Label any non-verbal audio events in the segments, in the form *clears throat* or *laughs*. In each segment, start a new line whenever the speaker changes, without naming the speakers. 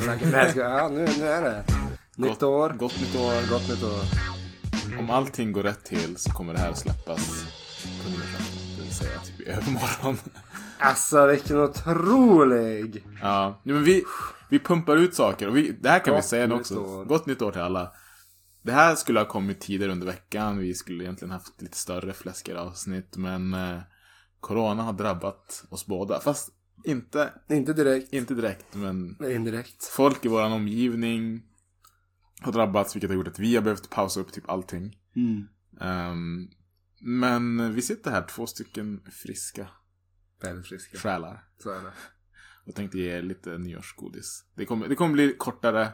snackar väska. Ja, nu, nu är det. Nytt
Gott-
år.
Gott nytt år.
Gott nytt år.
Om allting går rätt till så kommer det här släppas på nyårsafton. Det vill säga typ i övermorgon. *laughs*
Alltså vilken otrolig!
ja. Nej, men vi, vi pumpar ut saker. Och vi, det här kan
Gott
vi säga nu
nytt
också.
år.
Gott nytt år till alla. Det här skulle ha kommit tidigare under veckan. Vi skulle egentligen haft lite större fläskigare avsnitt. Men eh, corona har drabbat oss båda. Fast inte,
Inte direkt.
inte direkt. Men
Nej, Indirekt.
folk i vår omgivning har drabbats. Vilket har gjort att vi har behövt pausa upp typ allting. Ehm, men vi sitter här, två stycken friska
Väldigt friska.
själar.
Så är det.
Och tänkte ge er lite nyårsgodis. Det kommer, det kommer bli kortare.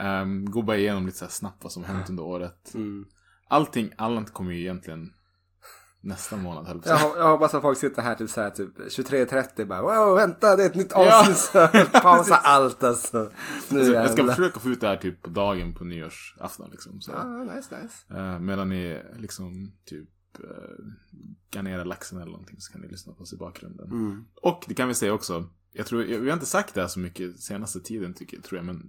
Um, gå bara igenom lite så här snabbt vad som har hänt under året.
Mm.
Allting, allt kommer ju egentligen nästa månad, höll jag på
Jag,
att säga.
ho- jag hoppas att folk sitter här till så här typ 23.30 bara wow, vänta det är ett nytt
Ja.
avsnitt.
*laughs*
Pausa allt alltså. Nu
Så Jag ska
jävlar.
försöka få ut det här typ på dagen på nyårsafton liksom. Så.
Ja, nice, nice.
Eh, medan ni liksom typ uh, garnerar laxen eller någonting så kan ni lyssna på oss i bakgrunden.
Mm.
Och det kan vi säga också. Jag tror, jag, vi har inte sagt det här så mycket senaste tiden tycker, tror jag, men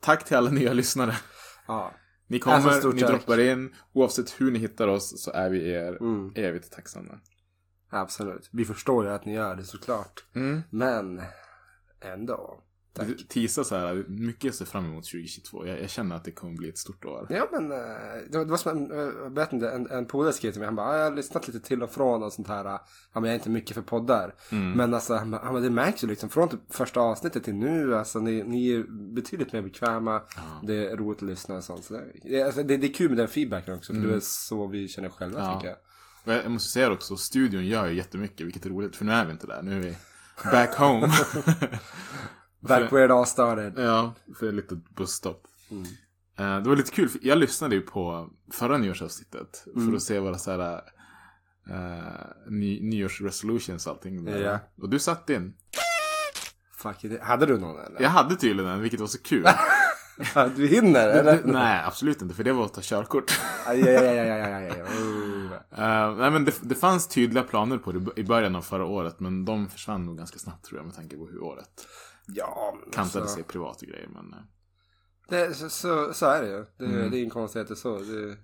tack till alla nya lyssnare.
Ja.
Ni kommer,
Alltså, stort
ni
tack.
droppar in. Oavsett hur ni hittar oss så är vi er
Mm.
evigt tacksamma.
Absolut. Vi förstår ju att ni gör det såklart.
Mm.
Men ändå. Tack.
Tisa så här, mycket jag ser fram emot 2022. Jag, jag känner att det kommer bli ett stort år.
Ja men eh, det var, det var som en, eh, jag vet inte, en, en polare skrev till mig. Han bara, "Ah, jag har lyssnat lite till och från och sånt här. Han bara, jag är inte mycket för poddar. Men alltså, han bara, "Ah, men det märks ju liksom från typ första avsnittet till nu. Alltså ni, ni är betydligt mer bekväma. Det är roligt att lyssna och sånt. Så det, det- alltså, det, det är kul med den feedbacken också. För det är så vi känner själva
Ja.
tycker jag.
Och jag jag måste säga det också, studion gör ju jättemycket, vilket är roligt, för nu är vi inte där. Nu är vi back home.
Back where it all started.
ja, för ett litet busstopp.
Mm.
Eh, Det var lite kul, för jag lyssnade ju på förra nyårsavsnittet
Mm.
för att se våra så här, eh, ny, nyårsresolutions och allting. där.
Ja.
Och du satt in.
Fuck it. Hade du någon eller?
Jag hade tydligen en, vilket var
*laughs*
så kul.
Du hinner
*laughs*
eller?
Nej, absolut inte, för det var att ta körkort. *laughs*
Aj, aj, aj, aj, aj, aj, aj. Oh.
Eh, nej, men det, det fanns tydliga planer på det i början av förra året, men de försvann nog ganska snabbt tror jag med tanke på hur året
Ja, men
kantade
alltså.
sig privat och grejer. Men, eh,
Det, så, så, så är det ju. Det,
Mm.
det är inga konstigheter så. Det,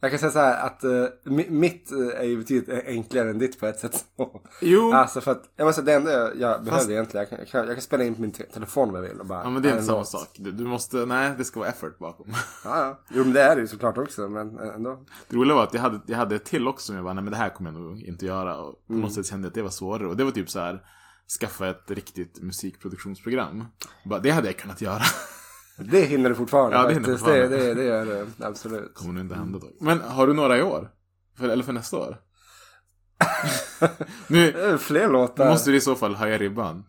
jag kan säga så här att eh, mi- mitt eh, är ju betydligt enklare än ditt på ett sätt.
Jo,
alltså för att, jag måste, säga, det enda jag, jag behöver egentligen, jag kan, jag, kan, jag kan spela in på min te- telefon om jag vill och bara.
ja, men det är
en
inte samma
låt.
sak. Du, du måste, nej, det ska vara effort bakom. *laughs*
Ja, ja. Jo men det är det ju såklart också men eh, ändå.
Det roliga var att jag hade, jag hade ett till också, men jag bara, nej men det här kommer jag nog inte göra. Och
Mm.
på något sätt kände jag att det var svårare. Och det var typ så här, skaffa ett riktigt musikproduktionsprogram. Bara, det hade jag kunnat göra. *laughs*
Det hinner du fortfarande
Ja, det hinner
faktiskt.
fortfarande.
Det, det, det gör det absolut.
kommer nog inte hända dock. Men har du några i år? För, eller för nästa år? *laughs* nu
Det är Fler
nu
låtar.
måste du i så fall höja ribban.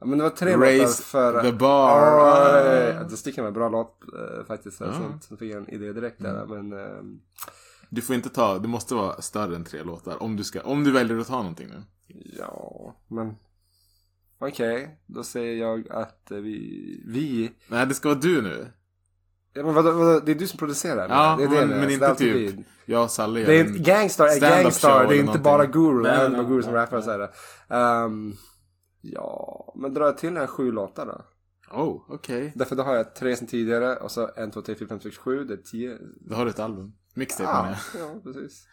Ja, men det var tre låtar
Raise
för...
the bar.
Alright. Det sticker med en bra låt eh, faktiskt.
Ja. Mm.
Så, så fick jag en idé direkt där. Men, ehm,
Du får inte ta, det måste vara större än tre låtar. Om du, ska, om du väljer att ta någonting nu.
Ja, men okej, då säger jag att eh, vi, vi,
Nej, det ska vara du nu.
ja, men vadå, vadå, det är du som producerar?
Ja,
det är det
men,
jag menar,
men
så
inte
alltid
typ
vi.
jag och Sally gör
Det är
en-
en gangstar, är
stand-up show
gangstar, det
eller
är inte bara
någonting.
Guru,
Nej,
även
nej,
om Guru som
nej.
rappar så är det. Ehm, ja, men dra till den här sju låtar då.
Oh, okej.
Därför då har jag tre sen tidigare och så en, två, tre, fyra, fem, sex, sju, det är tio.
Då har du ett album. Mixtape menar
Ja,
jag.
ja, precis.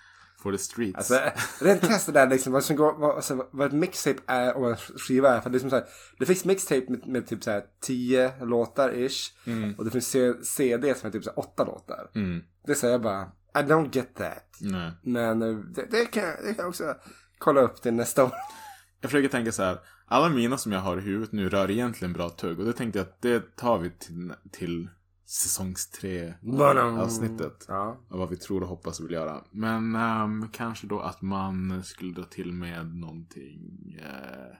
For the streets.
Alltså, rent krasst det där liksom, vad, som går, vad, alltså, vad ett mixtape är och vad en skiva är. För det, är som så här, det finns mixtape med, med typ så här 10 låtar ish. Och det finns C- CD som är typ så här 8 låtar.
Mm,
Det säger jag bara, I don't get that.
nej.
Men eh, det, det, kan, jag- det kan jag också kolla upp till nästa år.
Jag försöker tänka så här. Alla mina som jag har i huvudet nu rör egentligen bra tugg. Och det tänkte jag att det tar vi till, till säsongs tre
Badam.
avsnittet.
Ja.
Av vad vi tror och hoppas och vill göra. Men ehm, kanske då att man skulle dra till med någonting. eh,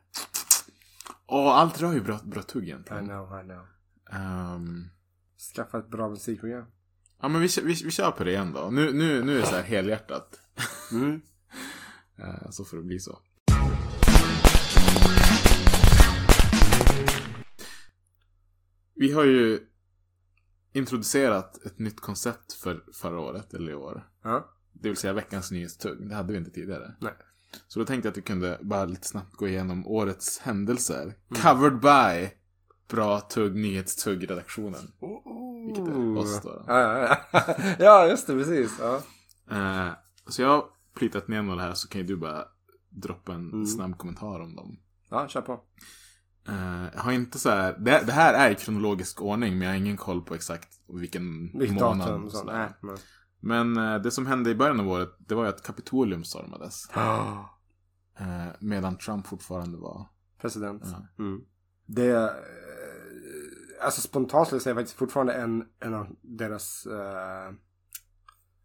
Åh, allt rör ju bra, bra tugg
I
egentligen.
know, I know.
Ehm,
Skaffa ett bra musikprogram.
ja, men vi, kö- vi, vi kör på det igen då. Nu, nu, nu är det så här helhjärtat.
Mm.
Eh, Så får det bli så. Vi har ju introducerat ett nytt koncept för förra året, eller i år.
Ja.
Det vill säga veckans nyhetstugg. Det hade vi inte tidigare.
Nej.
Så
Mm.
då tänkte jag att vi kunde bara lite snabbt gå igenom årets händelser. Covered by bra tugg, nyhetstugg i redaktionen. Vilket är oss då.
Ja, ja, ja. *laughs* ja, just det, precis. Ja.
Eh, så jag har plitat ner några här så kan ju du bara droppa en
Mm.
snabb kommentar om dem.
ja, kör på.
Eh, jag har inte så här, det, det här är i kronologisk ordning men jag har ingen koll på exakt vilken
Vilket
månad.
datum och
och så
sånt.
där.
Nej, men...
Men eh, det som hände i början av året det var ju att Kapitolium stormades. Eh, medan Trump fortfarande var...
President.
Ja.
Mm. Det... eh, Alltså spontant skulle jag säga faktiskt fortfarande en, en av deras... Eh,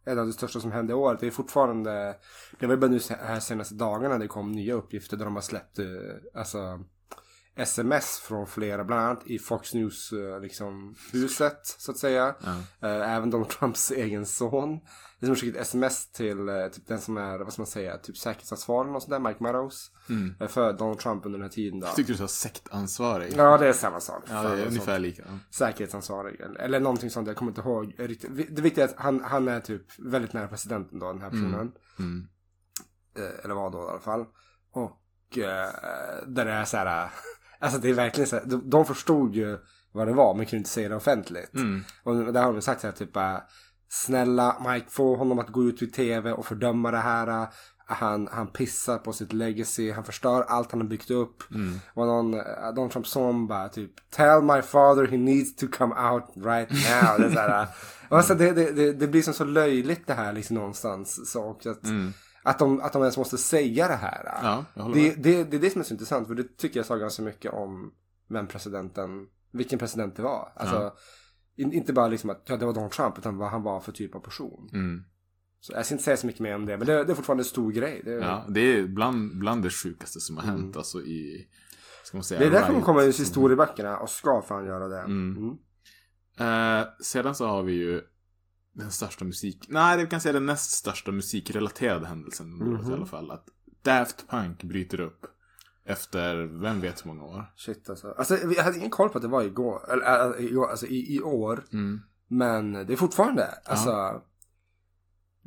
en av det största som hände i år. Det är fortfarande... Det var ju bara nu se- här senaste dagarna det kom nya uppgifter där de har släppt eh, alltså, sms från flera. Bland annat i Fox News eh, liksom, huset så att säga.
Ja.
Eh, även Donald Trumps *laughs* egen son. Det som har skickat sms till eh, typ den som är, vad ska man säga, typ säkerhetsansvarig och sånt där, Mike Meadows.
Mm. typ
Eh, för Donald Trump under den här tiden då.
Jag tyckte du sa sektansvarig.
Ja, det är samma sak.
Ja,
Fan,
det är
något
ungefär
sånt.
lika. Ja.
Säkerhetsansvarig, eller, eller någonting sånt. Jag kommer inte ihåg riktigt. Vi- Det viktiga är att han, han är typ väldigt nära presidenten då, den här personen.
Mm.
Eh, eller var då i alla fall. Och eh, där det är så här, *laughs* alltså det är verkligen så här, de, de förstod ju vad det var, men kunde inte säga det offentligt.
Mm.
Och där har de sagt så här typ äh, Snälla Mike, få honom att gå ut i tv och fördöma det här. äh, Han, han pissar på sitt legacy, han förstör allt han har byggt upp.
Mm.
Och någon, äh, Donald Trump som bara typ Tell my father he needs to come out right now. det, är så här, äh. Och alltså, det, det, det, det blir som så löjligt det här liksom någonstans. Så, och att,
Mm.
att, de, att de ens måste säga det här. äh.
Ja, jag håller
Det,
med.
det, det är det som är så intressant för det tycker jag sa ganska mycket om vem presidenten, vilken president det var. Alltså, in, inte bara liksom att ja, det var Donald Trump utan vad han var för typ av person.
Mm.
Så jag ska inte säga så mycket mer om det men det, det är fortfarande en stor grej. Det,
Ja, det är bland, bland det sjukaste som har hänt. Alltså i... Ska man säga,
Mm. det är därför
riot
hon kommer i
som-
historieböckerna och ska fan göra det.
Mm.
Mm.
Eh, sedan så har vi ju den största musik... Nej, vi kan säga den näst största musikrelaterade händelsen under året i
Mhm.
alla fall. Att Daft Punk bryter upp efter vem vet hur många år.
Shit alltså. alltså. Vi hade ingen koll på att det var igår, eller äh, igår, alltså i, i år. Men det är fortfarande, alltså.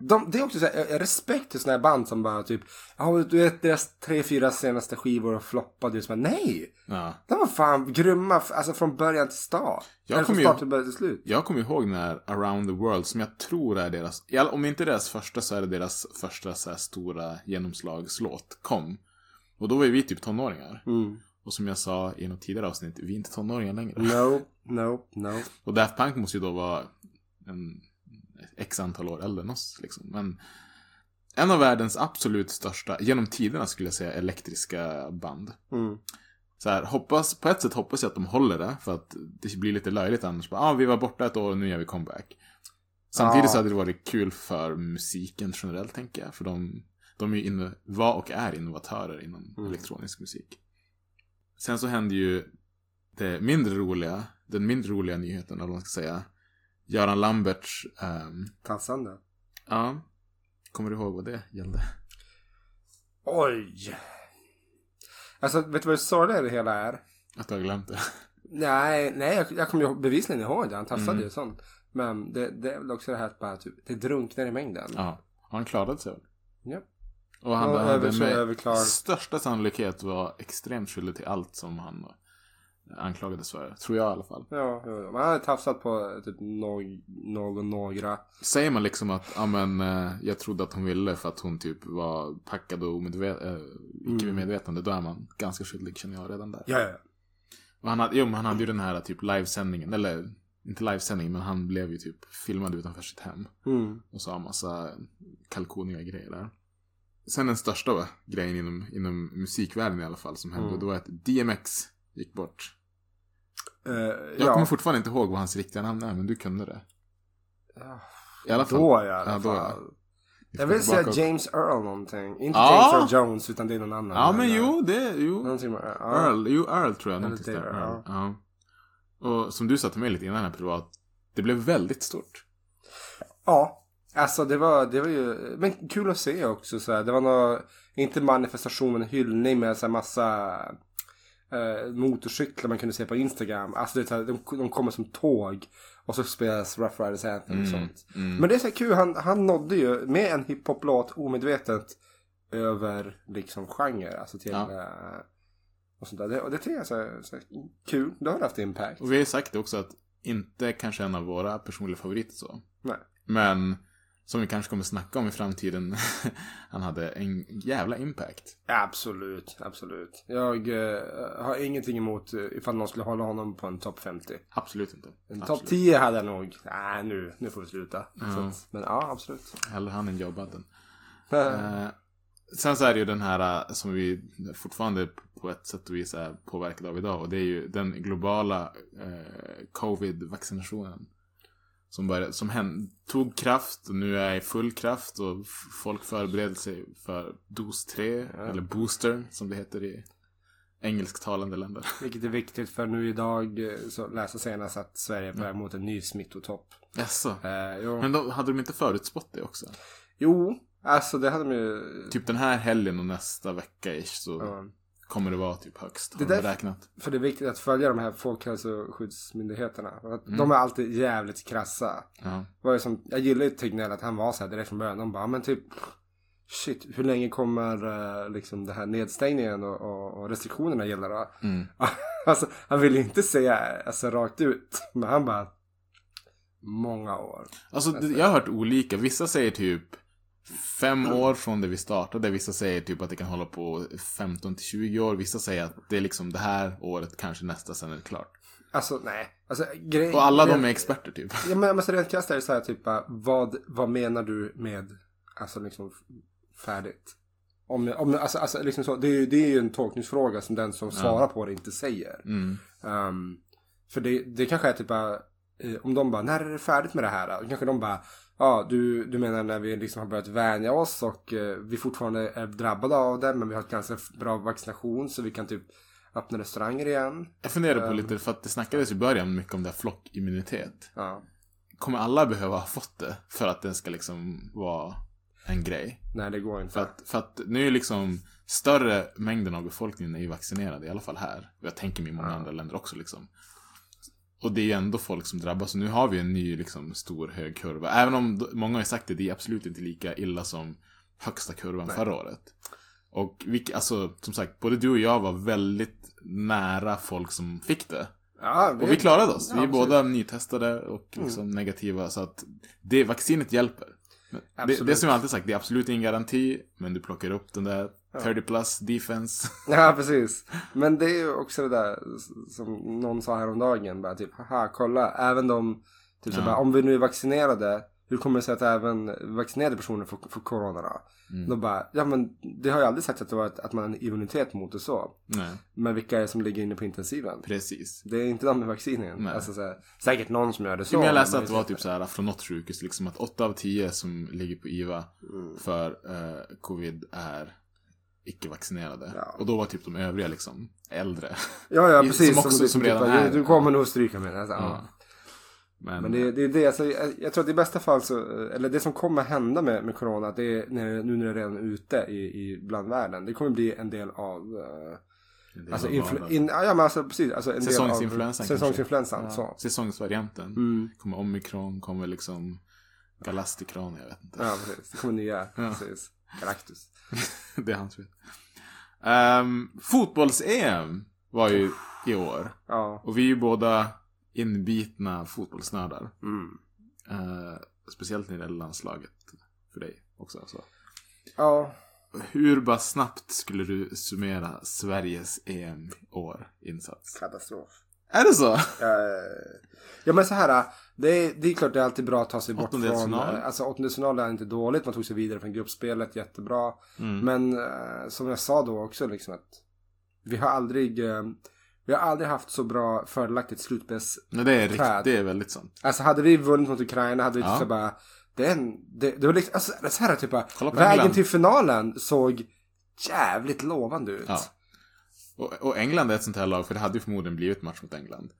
De, det är också så här, eh, respekt till sådana här band som bara typ, ja du vet deras tre, fyra senaste skivor floppade ju. Så bara, Nej!
Ja.
De var fan grymma, f- alltså från början till start.
Jag
Eller från
kommer ju-
start till början till slut.
Jag kommer ihåg när Around the World, som jag tror är deras, i alla- om inte deras första så är det deras första så här stora genomslagslåt, kom. Och då var ju vi typ tonåringar.
Mm.
Och som jag sa i något tidigare avsnitt, vi är inte tonåringar längre.
No, no, no.
Och Daft Punk måste ju då vara en x antal år äldre än oss. Liksom. Men en av världens absolut största, genom tiderna skulle jag säga, elektriska band.
Mm.
Så här, hoppas, på ett sätt hoppas jag att de håller det, för att det blir lite löjligt annars. Bara, ah, vi var borta ett år och nu gör vi comeback. Samtidigt
Ja.
så hade det varit kul för musiken generellt, tänker jag. För de, de är ju inno, var och är innovatörer inom
Mm.
elektronisk musik. Sen så hände ju det mindre roliga, den mindre roliga nyheten, eller vad man ska säga. Göran Lamberts, ehm,
Tassande.
ja, kommer du ihåg vad det gällde?
Oj! Alltså vet du vad det sorgliga i det hela är?
Att du har glömt det.
Nej, nej jag, jag kommer ju bevisligen ihåg det. Han tassade
Mm.
ju och sånt. Men det, det är väl också det här att bara typ, det drunknar i mängden.
Ja, han klarade sig.
Ja.
Och han
Ja,
behövde
över-
med
överklar.
största sannolikhet var extremt skyldig till allt som han eh, anklagades för. Tror jag i alla fall.
Ja, jo, jo. man hade tafsat på typ no- någon, några.
Säger man liksom att ja men, eh, jag trodde att hon ville för att hon typ var packad och omedvet- äh, icke vid
Mm.
medvetande. Då är man ganska skyldig känner jag redan där.
Ja, ja.
Och han hade, jo, men han hade ju den här typ livesändningen. Eller inte livesändningen men han blev ju typ filmad utanför sitt hem.
Mm.
Och så har massa kalkoniga grejer där. Sen den största va, grejen inom, inom musikvärlden i alla fall som hände.
Mm.
Det var att DMX gick bort.
Eh,
Jag
ja.
kommer fortfarande inte ihåg vad hans riktiga namn är men du kunde det.
Ja,
I alla fall.
Då i alla
Ja,
fall.
då, ja. Vi får
Jag vill
tillbaka
säga
och-
James Earl någonting. Inte
Ja.
James Earl Jones utan det är någon annan.
Ja men
eh,
jo, det, jo.
Någonting med ja.
Earl, jo Earl tror jag. Någonting
Mm. Eller
där.
det,
Earl. Ja. Och som du sa till mig lite innan här privat. Det blev väldigt stort.
Ja. Alltså det var, det var ju, men kul att se också så här. Det var nog, inte manifestation men hyllning med så här massa eh, motorcyklar man kunde se på Instagram. Alltså det är så här, de, de kommer som tåg och så spelas Rough Riders Anthem och sånt.
Mm.
Men det är så här kul, han, han nådde ju med en hiphop-låt omedvetet över liksom genre, alltså till
Ja.
eh, Och sånt där. Det, och det tycker jag är så, här- så här kul. Då har det haft impact.
Och vi har ju sagt det också att inte kanske en av våra personliga favoriter så.
Nej.
Men som vi kanske kommer snacka om i framtiden. *laughs* han hade en jävla impact.
Absolut, absolut. Jag eh, har ingenting emot eh, ifall någon skulle hålla honom på en topp 50.
Absolut inte.
En topp
Absolut.
10 hade jag nog. Nej, nu, nu får vi sluta. Så,
Ja.
att- men ja, absolut.
Hellre han än Joe Budden. Eh, sen så är det ju den här eh, som vi fortfarande på ett sätt och vis är påverkade av idag. Och det är ju den globala eh, covid-vaccinationen. Som, började, som hän- tog kraft och nu är i full kraft och f- folk förbereder sig för dos 3 eller booster som det heter i engelsktalande länder.
Vilket är viktigt för nu idag eh, så läser senast att Sverige är på väg mot en ny smittotopp.
Jaså?
Eh, jo.
Men då, hade de inte förutspått det också?
jo, alltså det hade de ju...
Typ den här helgen och nästa vecka ish så
Ja.
kommer det vara typ högst.
Det
Har de
där-
beräknat.
För det är viktigt att följa de här folkhälsoskyddsmyndigheterna. För att
Mm.
De är alltid jävligt krassa.
Ja.
Det Var ju som, jag gillar ju Tegnell att han var så här direkt från början. De bara, men typ shit, hur länge kommer eh, liksom det här nedstängningen och, och, och restriktionerna gälla då?
Mm.
*laughs* alltså, han vill ju inte säga alltså, rakt ut. Men han bara, många år.
Alltså, det- jag har hört olika. Vissa säger typ fem år från det vi startade. Vissa säger typ att det kan hålla på 15 till 20 år. Vissa säger att det är liksom det här året, kanske nästa, sen är det klart.
Alltså nej. Alltså, grej,
Och alla de
rent-
är experter typ.
Ja men alltså rent krasst är det så här typ bara, vad, vad menar du med alltså liksom f- färdigt? Om, om, alltså, alltså, liksom så, det, är, ju- det är ju en tolkningsfråga som den som svarar på det inte säger.
Mm.
Ehm, för det, det kanske är typ bara, eh, om de bara, när är det färdigt med det här? Då kanske de bara, ja du, du menar när vi liksom har börjat vänja oss och eh, vi fortfarande är drabbade av det men vi har ett ganska bra vaccination så vi kan typ öppna restauranger igen.
Jag funderar på lite, för att det snackades i början mycket om det här flockimmunitet.
Ja.
Kommer alla behöva ha fått det för att den ska liksom vara en grej?
Nej det går inte.
För att, för att nu är liksom större mängden av befolkningen är ju vaccinerad, i alla fall här. Och jag tänker mig i många andra länder också liksom. Och det är ju ändå folk som drabbas. Och nu har vi en ny liksom stor hög kurva. Även om d- många har ju sagt det, det är absolut inte lika illa som högsta kurvan förra året. Och vilk, alltså, som sagt, både du och jag var väldigt nära folk som fick det.
ja,
Och vi klarade oss. vi är
Ja, absolut. Mm.
båda nytestade och liksom negativa. Så att det vaccinet hjälper. Men Det,
Absolut.
det som jag alltid sagt, det är absolut ingen garanti. Men du plockar upp den där 30 plus defense.
*laughs* Ja, precis. Men det är ju också det där som någon sa häromdagen. Bara typ, haha, kolla. Även de, typ så
Ja.
bara, om vi nu är vaccinerade. Hur kommer det sig att även vaccinerade personer får, får corona då?
Mm.
Då bara, ja men det har ju aldrig sagt att, det var ett, att man har en immunitet mot det så.
Nej,
Men vilka är det som ligger inne på intensiven?
precis.
Det är inte de med vaccinen.
Nej.
Alltså, så här, säkert någon som gör det så.
Men jag läste
men liksom
att det var typ så här från något sjukhus, liksom att 8 av 10 som ligger på IVA
Mm.
för eh, covid är icke-vaccinerade.
Ja.
Och då var typ de övriga liksom äldre.
Ja, ja
som
precis.
också-
du-
som
typ
redan
bara,
är-
Du, du kommer nog stryka med det. Alltså, ja.
Ja. Men, eh,
Men det, det är det, alltså, jag, jag tror att i bästa fall så, eh, eller det som kommer hända med, med corona, det är när, nu när det är redan ute i, i bland världen, det kommer bli en del av, eh,
det är
alltså,
bara
influ-
vardag.
in, ja, men alltså precis, alltså en del av
Säsongsinfluensan kanske.
säsongsinfluensan. Så.
Säsongsvarianten.
Mm.
Kommer omikron, kommer liksom galastikron, jag vet inte. *laughs*
Ja, precis. Det kommer nya, precis. Galactus.
det är hans fel. Ehm, Fotbolls-EM var ju i år.
Ja.
Och vi är ju båda inbitna fotbollsnördar.
Mm.
Eh, speciellt när det gäller landslaget. För dig också. Så.
Ja.
Hur bara snabbt skulle du summera Sveriges EM-år insats?
Katastrof.
Är det så?
Eh, Ja men så här, det är, det är klart det är alltid bra att ta sig bort från...
Åttondelsfinal.
Alltså åttondelsfinal är inte dåligt, man tog sig vidare från gruppspelet, jättebra.
Mm.
Men eh, som jag sa då också liksom att vi har aldrig, eh, vi har aldrig haft så bra fördelaktigt slutspels...
Nej, det är riktigt,
Träd.
det är väldigt sant.
Alltså hade vi vunnit mot Ukraina hade vi
Ja.
typ så bara, det, är en, det, det var liksom, alltså det är så här typ bara,
Kolla på
vägen
England.
till finalen såg jävligt lovande ut.
Ja. Och, och England är ett sånt här lag, för det hade ju förmodligen blivit match mot England.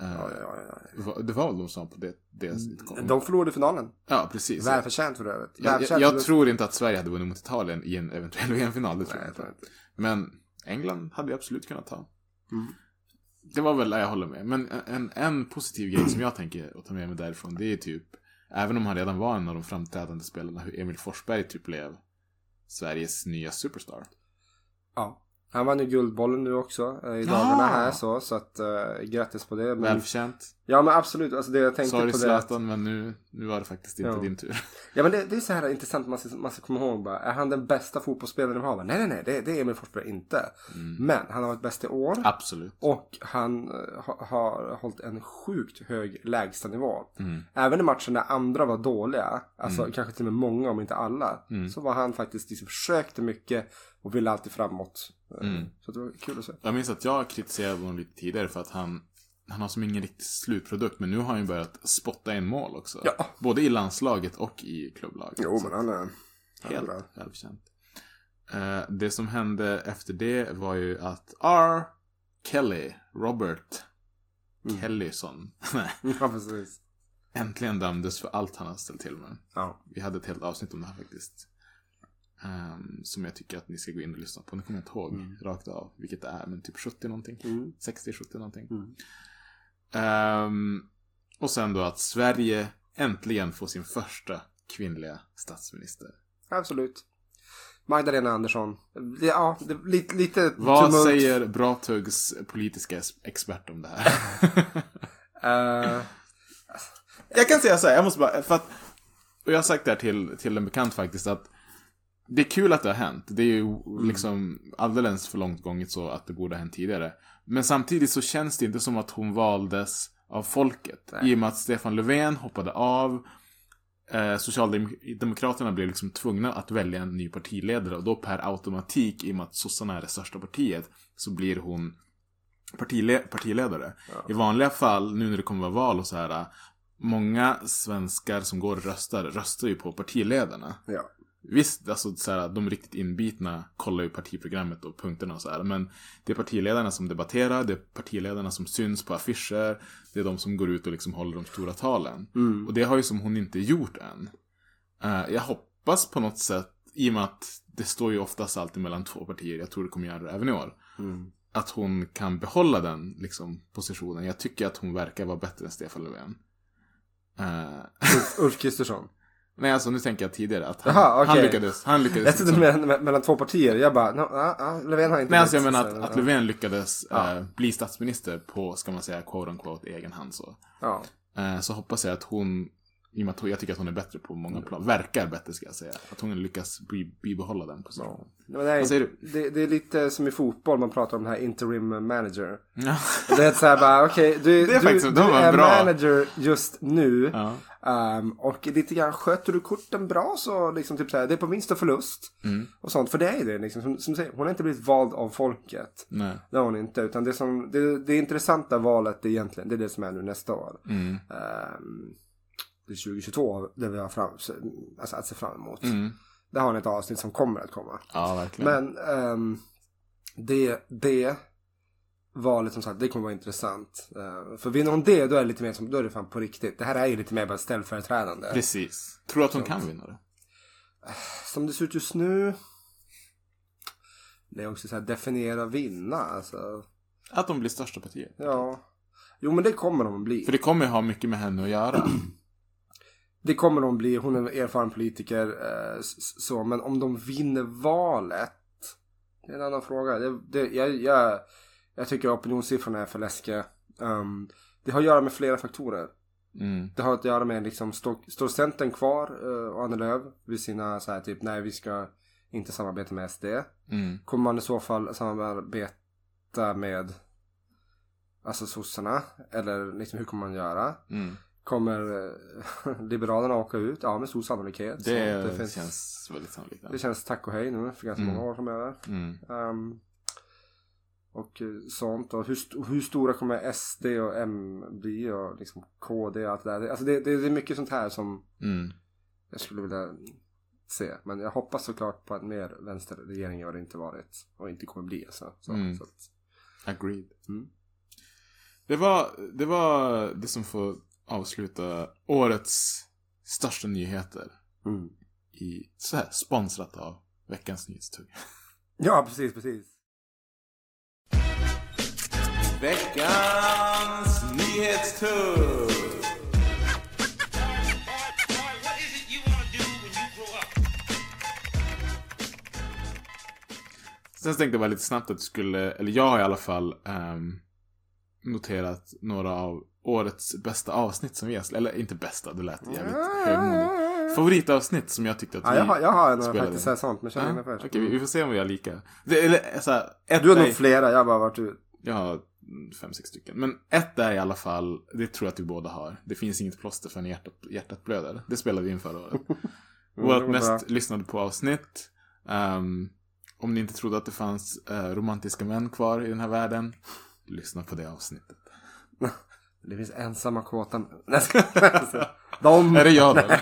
Eh,
Ja, ja, ja.
Va- Det var väl de som på det, det
Mm, De förlorade finalen.
Ja, precis.
Välförtjänt för övrigt.
Mm. Jag, jag,
Välförtjänt
jag
för-
tror inte att Sverige hade vunnit mot Italien i en eventuell *laughs* VM-final, det tror
Nej,
jag
jag tror
inte.
inte.
Men England hade vi absolut kunnat ta.
Mm.
Det var väl, jag håller med. Men en, en positiv grej som jag tänker att ta med mig därifrån, det är typ, även om han redan var en av de framträdande spelarna, hur Emil Forsberg typ blev Sveriges nya superstar.
Ja. Han vann ju Guldbollen nu också eh, i dagarna här så. Så att eh, grattis på det. Men,
Välförtjänt.
ja men absolut. Alltså det jag tänkte
Sorry
på det. att-
Zlatan, men nu, nu var det faktiskt inte
Ja.
din tur. *laughs*
Ja men det, det är så här intressant man ska, man ska komma ihåg bara. Är han den bästa fotbollsspelaren de har? Bara, Nej nej nej, det, det är Emil Forsberg inte. Men han har varit bäst i år.
Mm. Absolut.
Och han eh, ha, har hållit en sjukt hög lägstanivå.
Mm.
Även i matcher när andra var dåliga, alltså kanske till och med många om inte alla,
Mm.
så var han faktiskt, liksom, försökte mycket och ville alltid framåt. Eh,
Mm.
Så det var kul att se.
Jag minns att jag kritiserade honom lite tidigare för att han, han har som ingen riktig slutprodukt. Men nu har han ju börjat spotta in mål också.
Ja.
Både i landslaget och i klubblaget.
Jo
Så
men han är... han är
helt
bra. *laughs*
välförtjänt. Eh, det som hände efter det var ju att R. Kelly, Robert
Mm.
Kellyson,
Ja precis.
*laughs* äntligen dömdes för allt han har ställt till med.
Ja.
Vi hade ett helt avsnitt om det här faktiskt. Ehm, som jag tycker att ni ska gå in och lyssna på. Nu kommer jag inte ihåg rakt av vilket det är, men typ 70 någonting.
Mm.
60-70 någonting.
Mm.
Ehm, och sen då att Sverige äntligen får sin första kvinnliga statsminister.
Absolut. Magdalena Andersson. Det- Ja, det, lite, lite
Vad
tumult.
säger Bratuggs politiska es- expert om det här? *laughs*
Eh,
jag kan säga så här, jag måste bara, för att, och jag har sagt det här till, till en bekant faktiskt, att det är kul att det har hänt. Det är ju liksom alldeles för långt gånget så att det borde ha hänt tidigare. Men samtidigt så känns det inte som att hon valdes av folket. I och med att Stefan Löfven hoppade av. Eh, Socialdemokraterna blev liksom tvungna att välja en ny partiledare och då per automatik, i och med att sossarna är det största partiet, så blir hon partile- partiledare. I vanliga fall, nu när det kommer vara val och så här, många svenskar som går och röstar, röstar ju på partiledarna.
ja.
Visst, alltså så här, de riktigt inbitna kollar ju partiprogrammet och punkterna och så här. Men det är partiledarna som debatterar, det är partiledarna som syns på affischer. Det är de som går ut och liksom håller de stora talen. Och det har ju som hon inte gjort än. Eh, jag hoppas på något sätt, i och med att det står ju oftast alltid mellan två partier, jag tror det kommer göra det även i år.
Mm.
Att hon kan behålla den liksom, positionen. Jag tycker att hon verkar vara bättre än Stefan Löfven. Eh,
Ulf- Ulf Kristersson.
nej, alltså nu tänker jag tidigare att han,
Jaha, okej.
han lyckades. Han lyckades
Jag trodde
liksom-
mellan, mellan två partier. Jag bara, no, ah, ah, Löfven har inte
Nej, alltså jag
blivit-
menar
så-
att, att Löfven lyckades
Ja.
eh, bli statsminister på, ska man säga, quote unquote, egen hand så.
Ja.
Eh, så hoppas jag att hon, i och med att hon- jag tycker att hon är bättre på många plan, verkar bättre ska jag säga, att hon lyckas bi- bibehålla den positionen.
Men nej,
Vad säger du?
Det, det är lite som i fotboll man pratar om den här interim manager.
Ja.
Det är så här bara, okej, du,
Det är
du,
faktiskt-
du
de var
är
bra.
manager just nu.
Ja.
Ehm, och lite grann, sköter du korten bra så liksom typ så här, det är på vinst och förlust.
Mm.
Och sånt, för det är det liksom, som, som du säger, hon har inte blivit vald av folket.
Nej.
Det har hon inte, utan det, som, det, det intressanta valet egentligen, det är det som är nu nästa år.
Mm.
Ehm, det är 2022, det vi har fram, alltså att se fram emot.
Mm.
Där har ni ett avsnitt som kommer att komma.
ja, verkligen.
Men ehm, det, det valet som sagt, det kommer vara intressant. Eh, för vinner hon det, då är det lite mer som, då är det fan på riktigt. Det här är ju lite mer bara ställföreträdande.
Precis. Tror du att hon kan vinna det?
Som det ser ut just nu. Det är också så här, definiera vinna alltså.
Att de blir största partiet?
Ja. Jo men det kommer de att bli.
För det kommer ju ha mycket med henne att göra.
*clears throat* Det kommer de bli. Hon är en erfaren politiker. Eh, s- s- så. Men om de vinner valet. Det är en annan fråga. Det, det, jag, jag, jag tycker opinionssiffrorna är för läskiga. Ehm, det har att göra med flera faktorer.
Mm.
Det har att göra med liksom, stå, står Centern kvar eh, och Annie Lööf vid sina så här typ nej vi ska inte samarbeta med SD.
Mm.
Kommer man i så fall samarbeta med alltså sossarna? Eller liksom, hur kommer man göra?
Mm.
Kommer eh, *laughs* Liberalerna åka ut? Ja, med stor sannolikhet. Så
Det,
finns-
känns väldigt sannolikt.
det känns tack och hej nu för ganska
Mm.
många år framöver.
Mm.
Um, och eh, sånt. Och hur, st- hur stora kommer SD och M bli? Och liksom KD och allt det där. Det- Alltså det, det, det är mycket sånt här som
Mm.
jag skulle vilja se. Men jag hoppas såklart på en mer vänsterregering än vad det inte varit. Och inte kommer bli. Så, så,
Mm.
så att,
Agreed.
Mm.
Det, var, det var det som får avsluta årets största nyheter.
mm.
I, så här, sponsrat av Veckans Nyhetstugg.
Ja, precis, precis.
Veckans Nyhetstugg!
What is it you want to do when you grow up?
Så Sen tänkte jag bara lite snabbt att du skulle, eller jag har i alla fall ehm, noterat några av årets bästa avsnitt som vi har Eller inte bästa, det lät jävligt högmodigt. Favoritavsnitt som jag tyckte att
Ah. Ja,
vi...
jag har, jag har en
spelade.
faktiskt här sånt, men kör
Ja,
den först.
Okej, vi, vi får se om vi har lika. Det, eller så här, ett
Du har
är-
nog flera, jag har bara varit ut.
Jag har fem, sex stycken. Men ett är i alla fall, det tror jag att vi båda har. Det finns inget plåster förrän hjärtat, hjärtat blöder. Det spelade vi in förra
*laughs*
året.
det
Vårt
var
mest
bra.
lyssnade på avsnitt. Ehm, om ni inte trodde att det fanns eh, romantiska män kvar i den här världen. Lyssna på det avsnittet.
Det finns ensamma kåta män. *laughs* Nej, jag skojar. De...
Är det
*laughs*
jag då?
nej,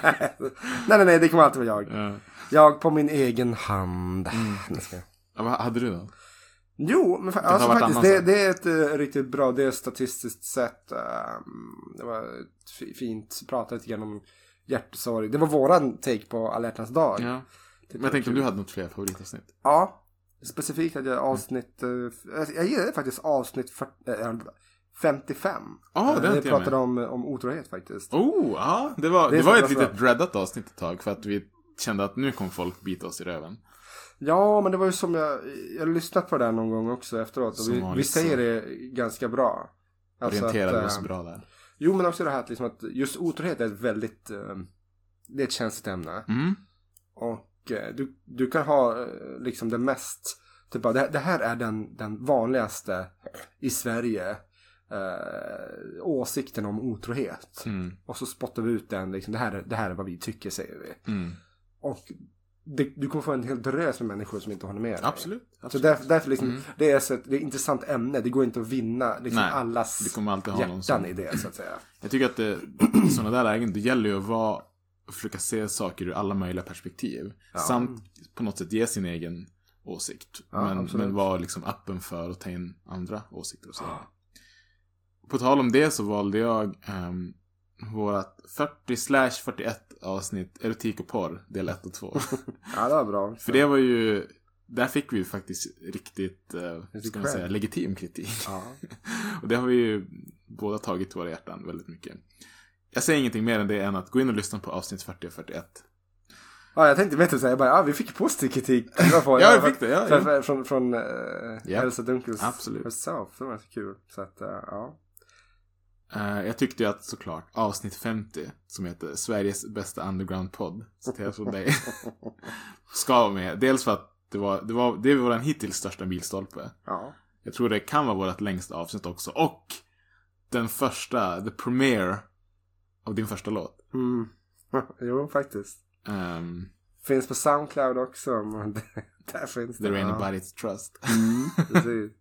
nej, nej, det kommer alltid vara jag.
Eh,
Jag på min egen hand.
Mm.
Nej, ska jag.
ja, vad hade du då?
Jo, men fa-
har
alltså,
varit
faktiskt,
annan
det,
sak.
det är ett eh, riktigt bra, det är statistiskt sett, ehm, det var ett fi- fint, prata lite grann om hjärtesorg. Det var våran take på alla hjärtans dag.
Ja. Men jag tänkte om du hade något fler favoritavsnitt.
Ja, specifikt hade jag avsnitt, eh, f- jag gillade faktiskt avsnitt 40, eh, 55.
Ja, det
Eh,
har
Vi
inte jag med.
pratade om, om otrohet faktiskt.
Oh, ja. Det var,
Det är
det var
så
ett
bra.
litet dreadat avsnitt ett tag. För att vi kände att nu kommer folk bita oss i röven.
Ja, men det var ju som jag, jag har lyssnat på det här någon gång också efteråt. Och
Som
vi, vi
vanligt så-
säger det ganska bra. Alltså
Orienterade
att, eh,
oss bra där.
Jo, men också det här att, liksom att just otrohet är ett väldigt, eh, det är ett känsligt ämne.
Mm.
Och eh, du, du kan ha eh, liksom det mest, typ bara, det, det här är den, den vanligaste i Sverige eh, åsikten om otrohet.
Mm.
Och så spottar vi ut den, liksom, det, här, är- det här är vad vi tycker säger vi.
Mm.
Och det, du kommer få en hel drös med människor som inte håller med dig.
Absolut.
Så
absolut.
därför, därför liksom, det är så ett, det är ett intressant ämne, det går inte att vinna liksom
Nej, Du
allas
kommer alltid ha någon
hjärtan
som...
i det så att säga.
Jag tycker att det, *clears throat* i sådana där lägen, det gäller ju att vara, att försöka se saker ur alla möjliga perspektiv.
Ja.
Samt på något sätt ge sin egen åsikt.
Ja,
men,
absolut.
men vara liksom öppen för att ta in andra åsikter och så. På tal om det så valde jag um, vårat 40-41 avsnitt Erotik och porr, del 1 och *laughs* 2.
Ja, det var bra.
För det var ju, där fick vi ju faktiskt riktigt, eh, hur ska man
cred.
säga, legitim kritik. *laughs*
Ja.
Och det har vi ju båda tagit till våra hjärtan väldigt mycket. Jag säger ingenting mer än det än att gå in och lyssna på avsnitt 40 och 41.
ja, jag tänkte bättre säga, jag bara, ja, vi fick positiv
*laughs*
kritik. Det var på-
Ja,
det var
vi fick det, ja,
för,
ja.
för, från från eh,
Ja.
Elsa Dunkels
Absolut.
herself, det var ganska kul. Så att, eh, ja.
Eh, jag tyckte ju att såklart avsnitt 50, som heter Sveriges bästa underground-podd, citerat från dig, *laughs* ska vara med. Dels för att det var, det var, det är vår hittills största milstolpe.
ja.
Jag tror det kan vara vårt längsta avsnitt också. Och den första, the premiere av din första låt.
Mm. *laughs* jo, faktiskt.
Ehm,
Finns på Soundcloud också. Men *laughs* där finns
there
det. ja.
ain't
Mm.
nobody to trust. *laughs*
Precis.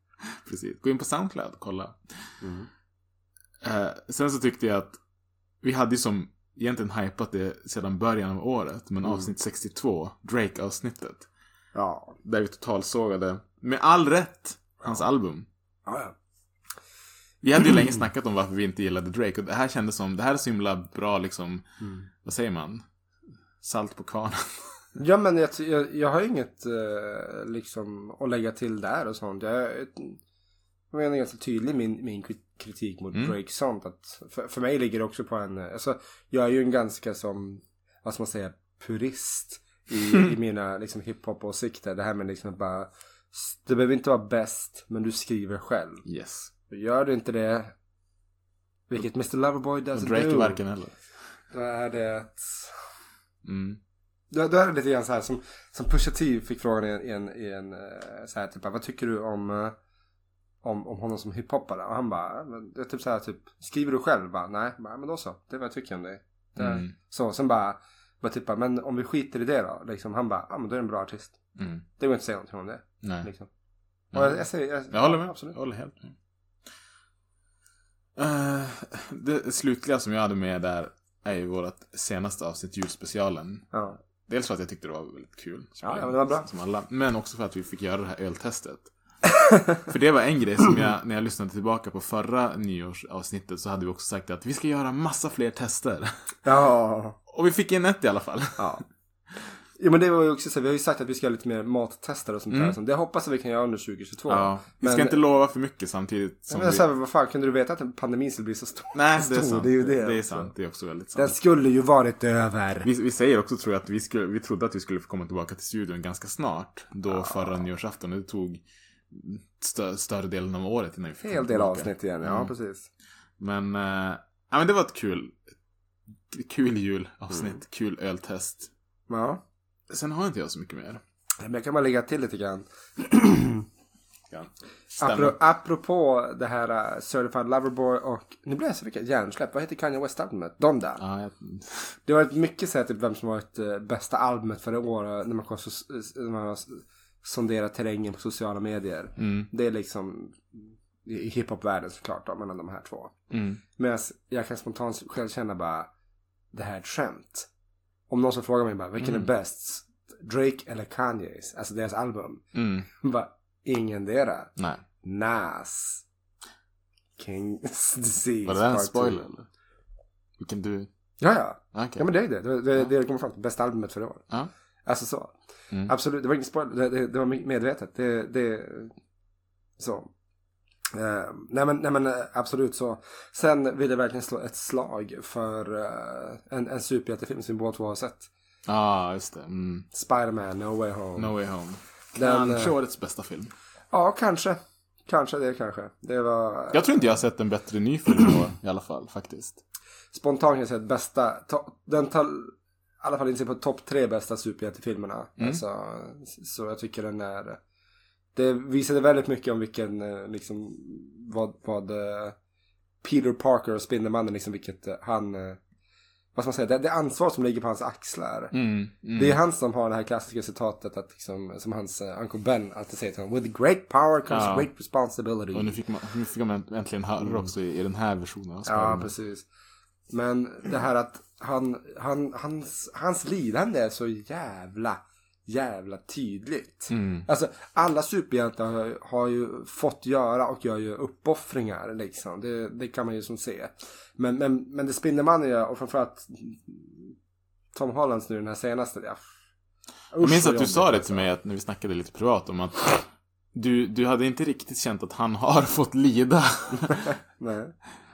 Precis. Gå in på Soundcloud och kolla.
Mm.
Eh, sen så tyckte jag att vi hade ju som egentligen hypat det sedan början av året.
Mm.
Men avsnitt 62, Drake-avsnittet.
Ja.
Där vi totalsågade, med all rätt, hans album.
Ja, ja.
Vi hade
*clears throat*
ju länge snackat om varför vi inte gillade Drake. Och det här kändes som, det här är så himla bra liksom,
Mm.
vad säger man? Salt på kvarnen. *laughs*
Ja men jag, jag, jag har inget eh, liksom att lägga till där och sånt. Jag, är ett- jag menar ganska tydlig min, min kri- kritik mot
Mm.
Drake sånt. Att för, för mig ligger det också på en, eh, alltså jag är ju en ganska som, vad ska man säga, purist i, i mina liksom hiphop-åsikter. Det här med liksom bara, s- det behöver inte vara bäst men du skriver själv.
Yes.
Gör du inte det, vilket Mr Loverboy
Och
doesn't
Drake är
do,
varken eller.
då är det ett
Mm.
då, då är det lite grann så här som, som Pusha T fick frågan i en, i en, i en eh, så här typ, vad tycker du om, eh, om, om honom som hiphoppare? Och han bara, "Ja, men det är typ så här typ, skriver du själv? Bara, Nej, Jag bara, men då så, det är vad jag tycker om dig. Det är-
Mm.
Så, sen bara, bara typ, bara, men om vi skiter i det då? Liksom, han bara, ja men då är det en bra artist.
Mm.
Det går inte att säga någonting om det.
Nej.
Liksom. Och jag, jag, säger, jag,
Jag håller med.
Absolut.
Jag håller helt med. Eh, det slutliga som jag hade med där är ju vårt senaste avsnitt, julspecialen.
Ja.
Dels för att jag tyckte det var väldigt kul.
Ja, ja, men det var bra.
Som alla. Men också för att vi fick göra det här öltestet. *laughs* för det var en grej som jag, när jag lyssnade tillbaka på förra nyårsavsnittet så hade vi också sagt att vi ska göra massa fler tester. *laughs*
Ja.
Och vi fick in ett i alla fall.
ja. Jo men det var ju också så här, vi har ju sagt att vi ska göra lite mer mattester och sånt
Mm.
där. Så Det hoppas jag vi kan göra under 2022.
Ja. Vi ska
Men-
inte lova för mycket samtidigt som
men
vi...
så här, vad fan, kunde du veta att pandemin skulle bli så stor?
Nej, det är
stor,
sant.
det är ju det
det är
också.
sant. Det är också väldigt sant.
Den skulle ju varit över.
Vi, vi säger också tror jag att vi, skulle, vi trodde att vi skulle få komma tillbaka till studion ganska snart. Då förra nyårsafton. Det tog stö, större delen av året innan vi fick komma
Hel del
tillbaka.
avsnitt igen, ja
Mm.
precis.
Men, eh, ja, men det var ett kul, kul julavsnitt.
Mm.
Kul öltest.
Ja.
Sen har inte jag så mycket mer.
Men jag kan bara lägga till lite grann.
Ja.
Apro, apropå det här uh, Certified Loverboy och... Nu blir jag så mycket hjärnsläpp. Vad heter Kanye West albumet? De där.
Ja, jag,
Det har varit mycket så här, typ vem som har varit eh, bästa albumet för i år. eh, När man, kan sos- eh, när man har s- sonderat terrängen på sociala medier.
mm,
Det är liksom i i hiphop-världen såklart då, mellan de här två.
mm.
Medan jag kan spontant själv känna bara, det här är ett skämt. Om någon som frågar mig bara, vilken
Mm.
är bäst? Drake eller Kanyes? Alltså deras album.
Mm,
Bara, ingendera.
nej.
Nas. King's *laughs* Disease.
Var det där en
part two.
spoiler eller? Vilken du...
Ja, ja.
Okej.
Ja, men det är det. Det, det, det kommer fram till bästa albumet för i år.
Ja.
Alltså så.
Mm.
Absolut, det var ingen spoiler. Det, det, det var medvetet. Det, det, så. Eh, nej, men, nej men eh, absolut så. Sen vill jag verkligen slå ett slag för eh, en, en superhjältefilm som vi båda två har sett.
ah, just det. Mm.
Spider-Man, No Way Home.
No Way Home.
Den,
Kanske
eh,
årets bästa film.
Ja, kanske. Kanske det kanske. Det var
Jag tror inte jag har sett en bättre ny film i år, i alla fall, faktiskt.
spontant kan jag säga att bästa. To, den tar i alla fall in sig på topp tre bästa superhjältefilmerna.
Mm.
Alltså, så jag tycker den är. Det visade väldigt mycket om vilken, eh, liksom, vad, vad eh, Peter Parker och Spindelmannen, liksom vilket eh, han, eh, vad ska man säga, det, det ansvar som ligger på hans axlar.
Mm, mm.
Det är han som har det här klassiska citatet att liksom, som hans eh, Uncle Ben alltid säger till honom. With great power comes
Ja.
great responsibility.
Och nu fick, man, nu fick man äntligen höra det också i, i den här versionen av
Ja,
Spider-Man.
precis. Men det här att han, han, hans, hans lidande är så jävla, jävla tydligt.
Mm.
Alltså, alla superhjältar har, har ju fått göra och gör ju uppoffringar liksom. Det, det kan man ju som se. Men, men, men det Spindelmannen gör och framförallt Tom Hollands nu den här senaste. Ja.
Jag minns att du sa det till mig att, när vi snackade lite privat om att du, du hade inte riktigt känt att han har *laughs* fått lida
Nej,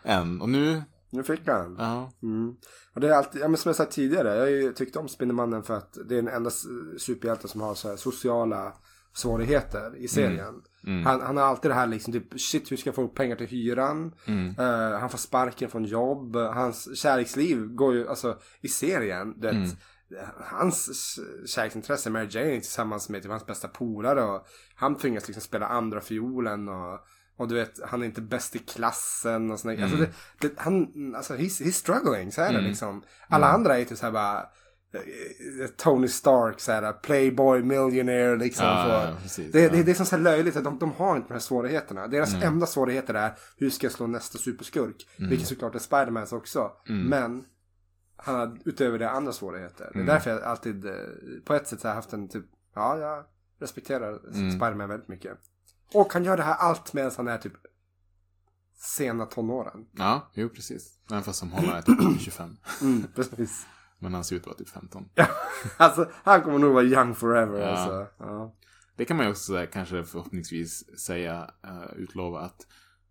än. Och nu,
nu fick han.
ja.
Mm. Och det är alltid, ja, men som jag sagt tidigare, jag har ju tyckt om Spindelmannen för att det är den enda s- superhjälten som har så här sociala svårigheter i serien.
Mm.
Han, han har alltid det här liksom, typ shit hur ska jag få pengar till hyran?
Mm.
Eh, han får sparken från jobb, hans kärleksliv går ju, alltså i serien, det,
Mm.
hans s- kärleksintresse, Mary Jane tillsammans med typ, hans bästa polare och han tvingas liksom spela andra fiolen och, och du vet, han är inte bäst i klassen och sådär. Alltså, det, det, han, alltså he's, he's struggling, så är det
Mm.
liksom. Alla andra är typ såhär bara eh, Tony Stark, så här, playboy, millionaire liksom.
Ja,
så.
ja, ja, precis.
Det,
Ja. Mm.
det, det är som så här löjligt att de, de har inte de här svårigheterna. Deras enda svårigheter är hur ska jag slå nästa superskurk? Vilket såklart är Spidermans också.
Mm.
Men han har utöver det andra svårigheter.
Mm.
Det är därför jag alltid eh, på ett sätt så här haft en typ, ja jag respekterar
Mm.
Spiderman väldigt mycket. Och han gör det här allt medan han är typ sena tonåren.
Ja, jo precis. Även fast som håller är typ 25.
*laughs* Precis.
Men han ser ut att vara typ 15.
Alltså han kommer nog vara young forever
Ja.
alltså. Ja.
Det kan man ju också så här, kanske förhoppningsvis säga, eh, utlova att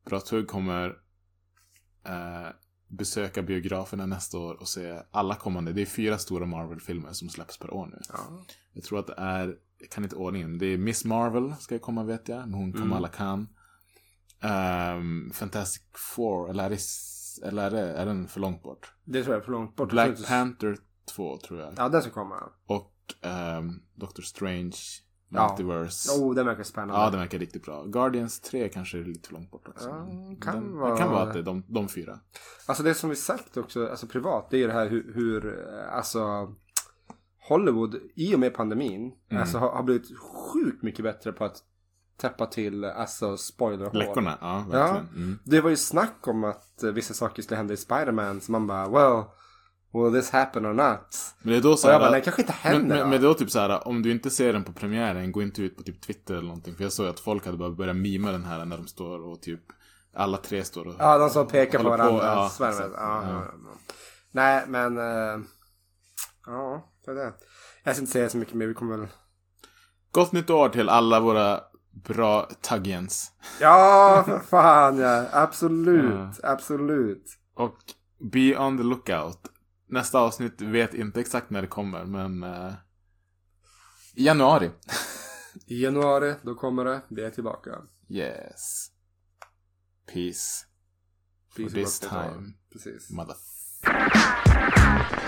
Bra Tugg kommer eh, besöka biograferna nästa år och se alla kommande. Det är fyra stora Marvel-filmer som släpps per år nu.
Ja.
Jag tror att det är, jag kan inte ordningen, men det är Miss Marvel ska jag komma vet jag, med
Mm.
hon Kamala Khan. Ehm, Fantastic Four, eller är, det, eller är, det, är den för långt bort?
Det tror jag är för långt bort.
Black Panther 2 tror jag.
Ja den ska komma.
Och ehm, Doctor Strange,
Ja.
Multiverse.
Oh den verkar spännande.
Ja, den verkar riktigt bra. Guardians 3 kanske är lite för långt bort också.
Ja,
men
Mm, kan
den,
vara.
Det kan vara att det är de, de fyra.
Alltså det som vi sagt också, alltså privat, det är ju det här hur, hur eh, alltså Hollywood i och med pandemin,
Mm.
alltså har, har blivit sjukt mycket bättre på att täppa till, alltså spoilerhål.
Läckorna, ja
Ja,
verkligen. Mm.
det var ju snack om att eh, vissa saker skulle hända i Spider-Man, så man bara well, will this happen or not?
Men det är då så
Och
här,
jag bara, det kanske inte händer.
men, men,
va?
men det är då typ så här, om du inte ser den på premiären, gå inte ut på typ Twitter eller någonting. För jag såg att folk hade bara börjat mima den här när de står och typ, alla tre står och...
Ja, de som pekar på
Håller på,
varandra.
ja,
svär med.
exakt.
ja,
Ja.
ja. ja. Nej, men... eh, Ja, det är det. Jag ska inte säga så mycket mer. Vi kommer väl...
Gott nytt år till alla våra bra taggens.
Ja, för fan ja. Absolut. Absolut.
Och be on the lookout. Nästa avsnitt vet inte exakt när det kommer, men... eh, i januari.
I januari, då kommer det. Vi är tillbaka.
Yes. Peace.
Precis
this
som jag ska ta.
time.
Precis.
Motherfucker.